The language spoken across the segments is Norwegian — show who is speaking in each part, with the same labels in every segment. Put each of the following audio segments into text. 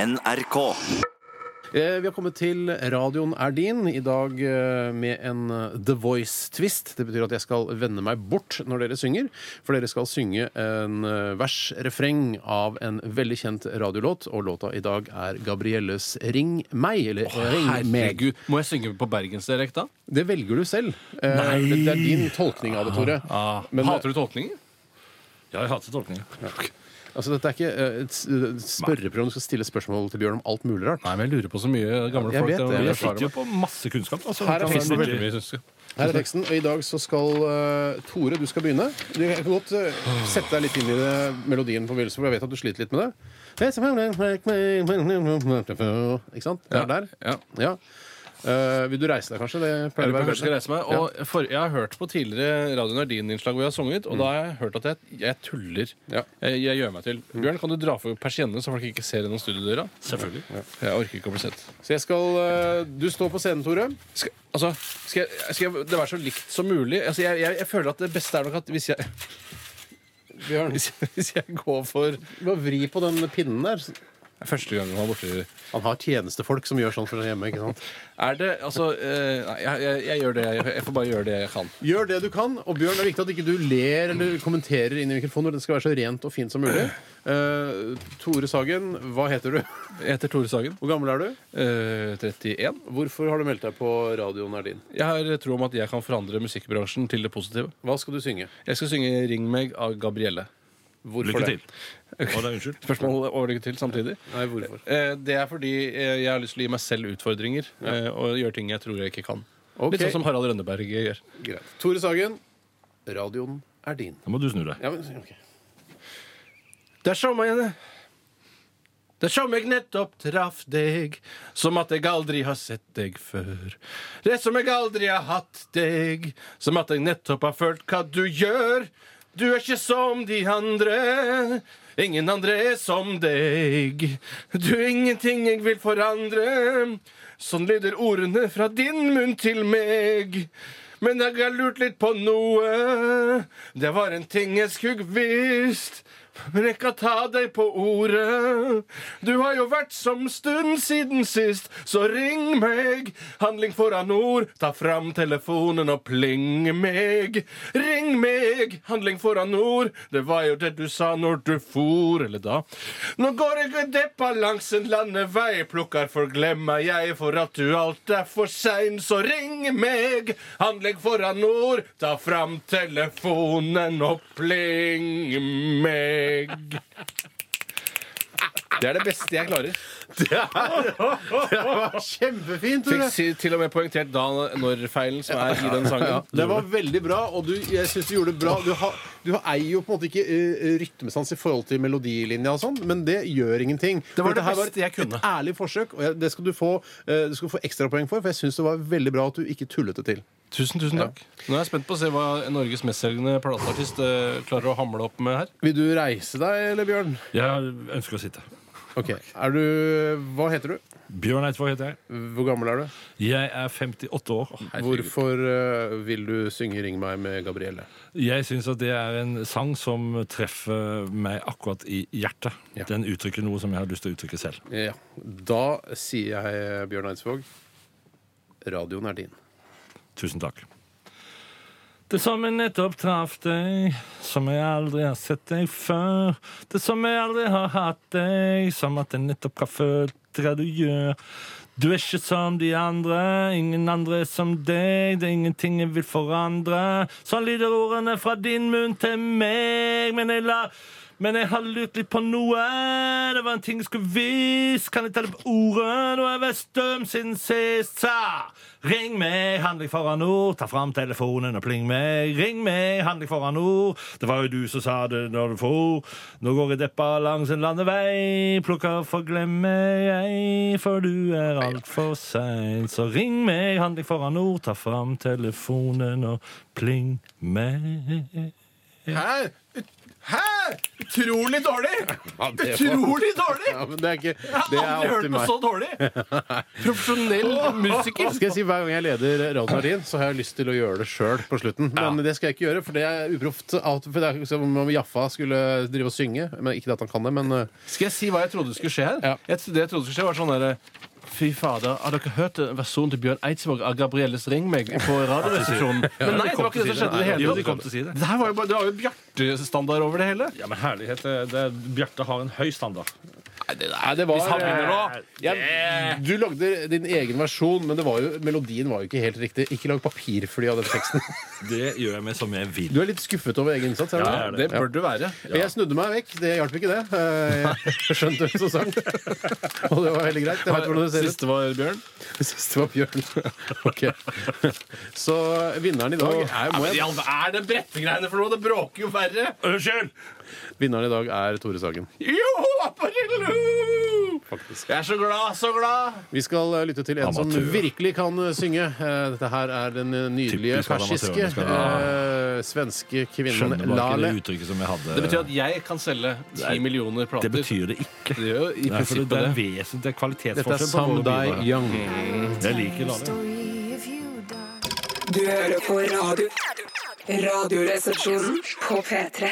Speaker 1: NRK.
Speaker 2: Eh, Vi har kommet til Radioen er din, i dag eh, med en eh, The Voice-twist. Det betyr at jeg skal vende meg bort når dere synger, for dere skal synge en eh, vers-refreng av en veldig kjent radiolåt, og låta i dag er Gabrielles Ring meg, eller Ring meg.
Speaker 3: Herregud, Må jeg synge på bergensdialekt da?
Speaker 2: Det velger du selv. Eh, Det, det er din tolkning av det, Tore.
Speaker 3: Ah.
Speaker 2: Men,
Speaker 3: Hater du tolkninger?
Speaker 4: Ja, jeg hater tolkninger.
Speaker 2: altså, dette er ikke eh, et s- et spørreprogram du skal stille spørsmål til Bjørn om alt mulig rart.
Speaker 3: Nei, men jeg lurer på så mye gamle
Speaker 2: Jeg
Speaker 3: folk.
Speaker 2: vet
Speaker 3: der, og
Speaker 2: det.
Speaker 3: mye
Speaker 4: Jeg
Speaker 3: erfaring.
Speaker 4: sitter jo på masse kunnskap. Altså,
Speaker 2: Her er
Speaker 4: Kan
Speaker 2: teksten.
Speaker 4: være
Speaker 3: Veldig
Speaker 4: veldig mye.
Speaker 3: mye, synes jeg.
Speaker 2: Her er teksten, og i dag så skal eh, Tore, du skal begynne. Du jeg kan godt eh, sette deg litt inn i det, melodien på begynnelsen, for jeg vet at du sliter litt med det. Ikke sant? Det er der.
Speaker 3: Ja.
Speaker 2: Ja. Eh, vil du reise deg, kanskje? Det pleier å
Speaker 3: Jeg lurer på
Speaker 2: være
Speaker 3: om jeg skal reise meg. Og for, jeg har hørt på tidligere Radio Nardin-innslag hvor jeg har sunget, og da har jeg hørt at jeg, jeg tuller.
Speaker 2: Mm. Ja. Mm.
Speaker 3: Jeg, jeg gjør meg til. Bjørn, kan du dra for persiennene så folk ikke ser gjennom studiodøra? Selvfølgelig. Jeg orker ikke å bli sett.
Speaker 2: Så jeg skal eh, Du står på scenen, Tore.
Speaker 3: Skal, altså, skal, jeg, skal jeg, det være så likt som mulig? Altså, jeg, jeg, jeg føler at det beste er nok at hvis jeg,
Speaker 2: Bjørn.
Speaker 3: hvis jeg, hvis jeg går for
Speaker 2: Bare vri på den pinnen der.
Speaker 3: Første gangen han var borti
Speaker 2: Han har tjenestefolk som gjør sånn for seg hjemme. ikke sant?
Speaker 3: Er det Altså, eh, nei, jeg, jeg, jeg gjør det jeg, jeg får bare gjøre det jeg kan.
Speaker 2: Gjør det du kan. Og Bjørn, det er viktig at ikke du ler eller kommenterer inn i mikrofonen. Det skal være så rent og fint som mulig. Eh, Tore Sagen, hva heter du?
Speaker 3: Jeg heter Tore Sagen.
Speaker 2: Hvor gammel er du?
Speaker 3: eh, 31.
Speaker 2: Hvorfor har du meldt deg på radioen er din?
Speaker 3: Jeg har tro om at jeg kan forandre musikkbransjen til det positive.
Speaker 2: Hva skal du synge?
Speaker 3: Jeg skal synge 'Ring meg' av Gabrielle.
Speaker 2: Hvorfor
Speaker 4: Lykke
Speaker 2: det?
Speaker 4: til. Å, nei, unnskyld.
Speaker 3: Spørsmål og lykke til samtidig.
Speaker 2: Nei, hvorfor?
Speaker 3: Eh, Det er fordi eh, jeg har lyst til å gi meg selv utfordringer eh, og gjøre ting jeg tror jeg ikke kan.
Speaker 2: Ok.
Speaker 3: Litt sånn som Harald Rønneberg gjør.
Speaker 2: Greit. Tore Sagen, radioen er din.
Speaker 4: Da må du snu deg.
Speaker 2: Ja, men, ok.
Speaker 3: Dersom jeg Dersom jeg nettopp traff deg som at jeg aldri har sett deg før. Det som jeg aldri har hatt deg, som at jeg nettopp har følt hva du gjør. Du er ikke som de andre. Ingen andre er som deg. Du er ingenting jeg vil forandre. Sånn lyder ordene fra din munn til meg. Men jeg har lurt litt på noe. Det var en ting jeg skulle visst. Men jeg kan ta deg på ordet. Du har jo vært som stund siden sist, så ring meg. Handling foran ord, ta fram telefonen og pling meg. Ring meg, handling foran ord. Det var jo det du sa når du for, eller da. Nå går jeg og depper langs en landevei, plukker forglemmer jeg for at du alt er for sein, så ring meg. Handling foran ord, ta fram telefonen og pling meg. Det er det beste jeg klarer.
Speaker 2: Kjempefint,
Speaker 3: Fikk
Speaker 2: Tore!
Speaker 3: si, til og med poengtert da når-feilen som er i den sangen.
Speaker 2: Ja, det var veldig bra, og du, jeg syns du gjorde det bra. Du, har, du har- eier jo på en måte ikke eh, rytmesans i forhold til melodilinja og sånn, men det gjør ingenting.
Speaker 3: Det var
Speaker 2: For
Speaker 3: det
Speaker 2: dette her
Speaker 3: beste jeg kunne.
Speaker 2: Et ærlig forsøk, og jeg, det skal du få, eh, du skal få ekstrapoeng for, for jeg syns det var veldig bra at du ikke tullet det til.
Speaker 3: Tusen, tusen takk. Nå er jeg spent på å se hva Norges mestselgende plateartist eh, klarer å hamle opp med her.
Speaker 2: Vil du reise deg, eller Bjørn?
Speaker 4: Jeg ønsker å sitte.
Speaker 2: Ok, er du, Hva heter du?
Speaker 4: Bjørn Eidsvåg heter jeg.
Speaker 2: Hvor gammel er du?
Speaker 4: Jeg er 58 år.
Speaker 2: Hvorfor eh, vil du synge 'Ring meg' med Gabrielle?
Speaker 4: Jeg syns at det er en sang som treffer meg akkurat i hjertet.
Speaker 2: Ja.
Speaker 4: Den uttrykker noe som jeg har lyst til å uttrykke selv.
Speaker 2: Ja. Da sier jeg, Bjørn Eidsvåg, radioen er din.
Speaker 4: Tusen takk. Det som jeg nettopp traff deg, som jeg aldri har sett deg før. Det som jeg aldri har hatt deg, som at jeg nettopp har følt hva du gjør. Du er ikke som de andre, ingen andre er som deg. Det er ingenting jeg vil forandre. Sånn lyder ordene fra din munn til meg, men jeg la men jeg har lurt litt på noe. Det var en ting jeg skulle visst. Kan jeg telle på ordet? Nå har jeg vært støm siden sist. Sa. Ring meg, handling foran ord. Ta fram telefonen og pling meg. Ring meg, handling foran ord. Det var jo du som sa det når du for. Nå går jeg deppa langs en landevei. Plukker for glemmer jeg, for du er altfor sein. Så ring meg, handling foran ord. Ta fram telefonen og pling meg.
Speaker 2: Hæ?
Speaker 3: Hæ?! Utrolig dårlig!
Speaker 2: Ja, det var-
Speaker 3: Utrolig dårlig!
Speaker 2: Ja, men det er ikke
Speaker 3: Jeg
Speaker 2: Det
Speaker 3: har
Speaker 2: er
Speaker 3: aldri
Speaker 2: opp
Speaker 3: hørt
Speaker 2: til
Speaker 3: noe
Speaker 2: meg.
Speaker 3: så dårlig! Profesjonell musiker.
Speaker 2: Skal jeg si Hver gang jeg leder Radio Verdien, så har jeg lyst til å gjøre det sjøl på slutten. Men det skal jeg ikke gjøre, for det er uproft. Alt- For det er som om Jaffa skulle drive og synge. Men Ikke at han kan det, men eh,
Speaker 3: Skal jeg si hva jeg trodde skulle skje her?
Speaker 2: Ja.
Speaker 3: Jeg, det jeg trodde skulle skje var sånn der Fy fader, har dere hørt versjonen til Bjørn Eidsvåg av Gabrielles Ring meg på radioresepsjonen? Men nei, det var ikke det som skjedde i det
Speaker 4: Jo, de
Speaker 3: hele
Speaker 4: kom
Speaker 3: tatt.
Speaker 4: til å si det.
Speaker 3: Det her var jo, bare- det var jo Bjarte-standard over det hele.
Speaker 4: Ja, men herlighet, eh, det, det, Bjarte har en høy standard.
Speaker 2: Nei, det var
Speaker 3: Hvis han begynner nå
Speaker 2: ja, Du lagde din egen versjon, men det var jo, melodien var jo ikke helt riktig. Ikke lag papirfly av den teksten.
Speaker 4: Det gjør jeg med som jeg vil.
Speaker 2: Du er litt skuffet over egen innsats? Er du
Speaker 4: Ja,
Speaker 2: det?
Speaker 3: Det bør du være.
Speaker 2: Jeg snudde meg vekk. Det hjalp ikke, det. Eh, Jeg skjønte hvem som sang. Og det var veldig greit. Jeg vet hvordan det ser ut.
Speaker 3: Siste var Bjørn.
Speaker 2: Det siste var Bjørn. Ok. Så vinneren i dag er, må jeg,
Speaker 3: Er det brettegreiene for noe? Det bråker jo verre.
Speaker 4: Unnskyld!
Speaker 2: vinneren i dag er Tore Sagen.
Speaker 3: Jo, apparillo!
Speaker 2: Faktisk.
Speaker 3: Jeg er så glad, så glad.
Speaker 2: Vi skal eh, lytte til en som
Speaker 4: Amatør.
Speaker 2: virkelig kan eh, synge. Eh, Dette her er den eh, nydelige
Speaker 4: Typisk at
Speaker 2: persiske
Speaker 4: amatørene skal-
Speaker 2: eh, svenske kvinnen
Speaker 4: Skjønner bare ikke
Speaker 2: Lale.
Speaker 4: det uttrykket som jeg hadde.
Speaker 3: Det betyr at jeg kan selge ti
Speaker 4: Nei,
Speaker 3: millioner plater.
Speaker 4: Det betyr det ikke.
Speaker 3: Det gjør jo i
Speaker 4: Nei, for det,
Speaker 3: prinsippet
Speaker 4: er en
Speaker 3: det.
Speaker 4: vesentlig
Speaker 2: Dette er
Speaker 4: kvalitetsforskjell. på
Speaker 2: Sam
Speaker 4: våre bidrag.
Speaker 2: Dai Young.
Speaker 4: Jeg liker Lale.
Speaker 1: Story if you die.
Speaker 5: Du hører på radio. Radioresepsjonen på P3.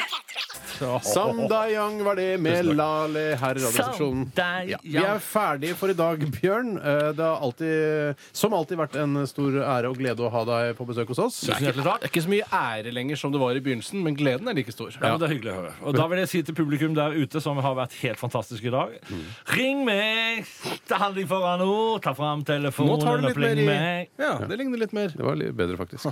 Speaker 2: Sam Dai Young var det med Lale her i Radioresepsjonen. Ja. Vi er ferdige for i dag, Bjørn. Eh, Det har alltid, som alltid vært en stor ære og glede å ha deg på besøk hos oss.
Speaker 3: Det er, ikke, det er ikke så mye ære lenger som det var i begynnelsen, men gleden er like stor.
Speaker 4: Ja, men Det er hyggelig å høre. Og da vil jeg si til publikum der ute, som har vært helt fantastisk i dag
Speaker 3: Mm.
Speaker 4: Ring meg! Det handler ikke foran ord. Ta fram telefonen.
Speaker 3: Nå tar du litt mer i
Speaker 4: meg.
Speaker 3: Ja, det ligner litt mer.
Speaker 2: Det var litt bedre, faktisk.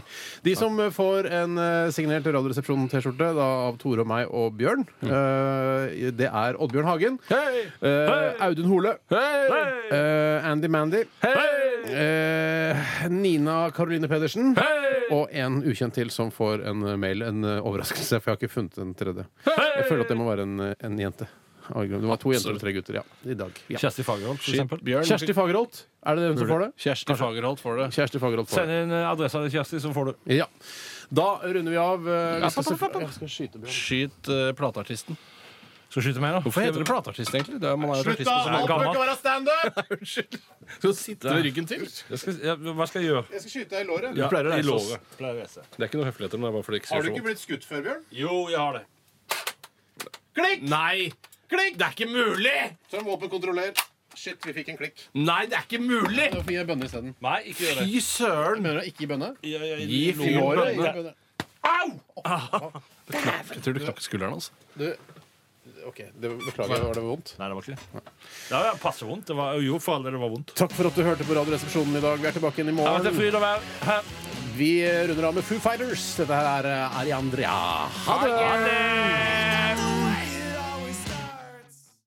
Speaker 2: De som eh, får en eh, signert Radioresepsjonen-T-skjorte da, av Tore og meg og Bjørn, eh, det er Oddbjørn Hagen.
Speaker 3: Hei!
Speaker 2: eh, Audun Hole.
Speaker 3: Hei!
Speaker 2: eh, Andy Mandy.
Speaker 3: Hei!
Speaker 2: eh, Nina Karoline Pedersen.
Speaker 3: Hei!
Speaker 2: Og en ukjent til som får en eh, mail. En eh, overraskelse, for jeg har ikke funnet en tredje. Jeg føler at det må være en, eh, en jente. Av en grunn. Det var to jenter og tre gutter ja, i dag. Ja.
Speaker 4: Kjersti Fagerholt, for eksempel.
Speaker 3: Bjørn,
Speaker 2: Kjersti Fagerholt. Er det den som får det?
Speaker 3: Kjersti Fagerholt får det.
Speaker 2: Kjersti Fagerholt får det.
Speaker 4: Send en eh, adresse til Kjersti, så får du.
Speaker 2: Ja. Da runder vi av. eh, vi skal
Speaker 3: papp, papp,
Speaker 2: selvfø-
Speaker 3: papp.
Speaker 2: Jeg skal skyte Bjørn.
Speaker 3: Skyt eh, plateartisten.
Speaker 4: Skal du skyte meg, da?
Speaker 3: Hvorfor heter det plateartist, egentlig? Det er, man er jo artist på så
Speaker 4: alt
Speaker 3: mange-
Speaker 4: må ikke
Speaker 2: være standup!
Speaker 3: Skal du sitte med ryggen til?
Speaker 4: Jeg skal, ja, hva skal jeg gjøre?
Speaker 2: Jeg skal skyte deg i låret.
Speaker 4: Ja,
Speaker 3: pleier å
Speaker 4: i
Speaker 3: reise oss.
Speaker 4: låret. Pleier å reise.
Speaker 3: Det er ikke noe høfligheter, men det er bare fordi det ikke
Speaker 2: Har du
Speaker 3: ser så
Speaker 2: ikke
Speaker 3: vondt.
Speaker 2: blitt skutt før, Bjørn?
Speaker 4: Jo, jeg har det.
Speaker 2: Klikk!
Speaker 3: Nei!
Speaker 2: Klikk!
Speaker 3: Det er ikke mulig!
Speaker 2: Som våpenkontroller. Shit, vi fikk en klikk.
Speaker 3: Nei, det er ikke mulig!
Speaker 2: Da fikk jeg bønne isteden.
Speaker 4: Nei, ikke gjør det.
Speaker 3: Fy søren!
Speaker 2: Mener du ikke i bønne?
Speaker 4: Ja, ja, i
Speaker 3: Gi
Speaker 4: låret.
Speaker 2: I
Speaker 3: fyren
Speaker 2: låret?
Speaker 3: bønne.
Speaker 2: ikke i bønne.
Speaker 3: Jeg tror du knakk skulderen hans.
Speaker 2: Du OK, det beklager jeg. Var det vondt?
Speaker 4: Nei, det var ikke det. Det var passe vondt. Det var, jo, for all del, det var vondt.
Speaker 2: Takk for at du hørte på Radioresepsjonen i dag. Vi er tilbake igjen i
Speaker 4: Det har vært en
Speaker 2: morgen.
Speaker 4: fryd å være her.
Speaker 2: Vi runder av med Foo Fighters. Dette her er eh, Ariandria. Ha det!
Speaker 4: Ha det!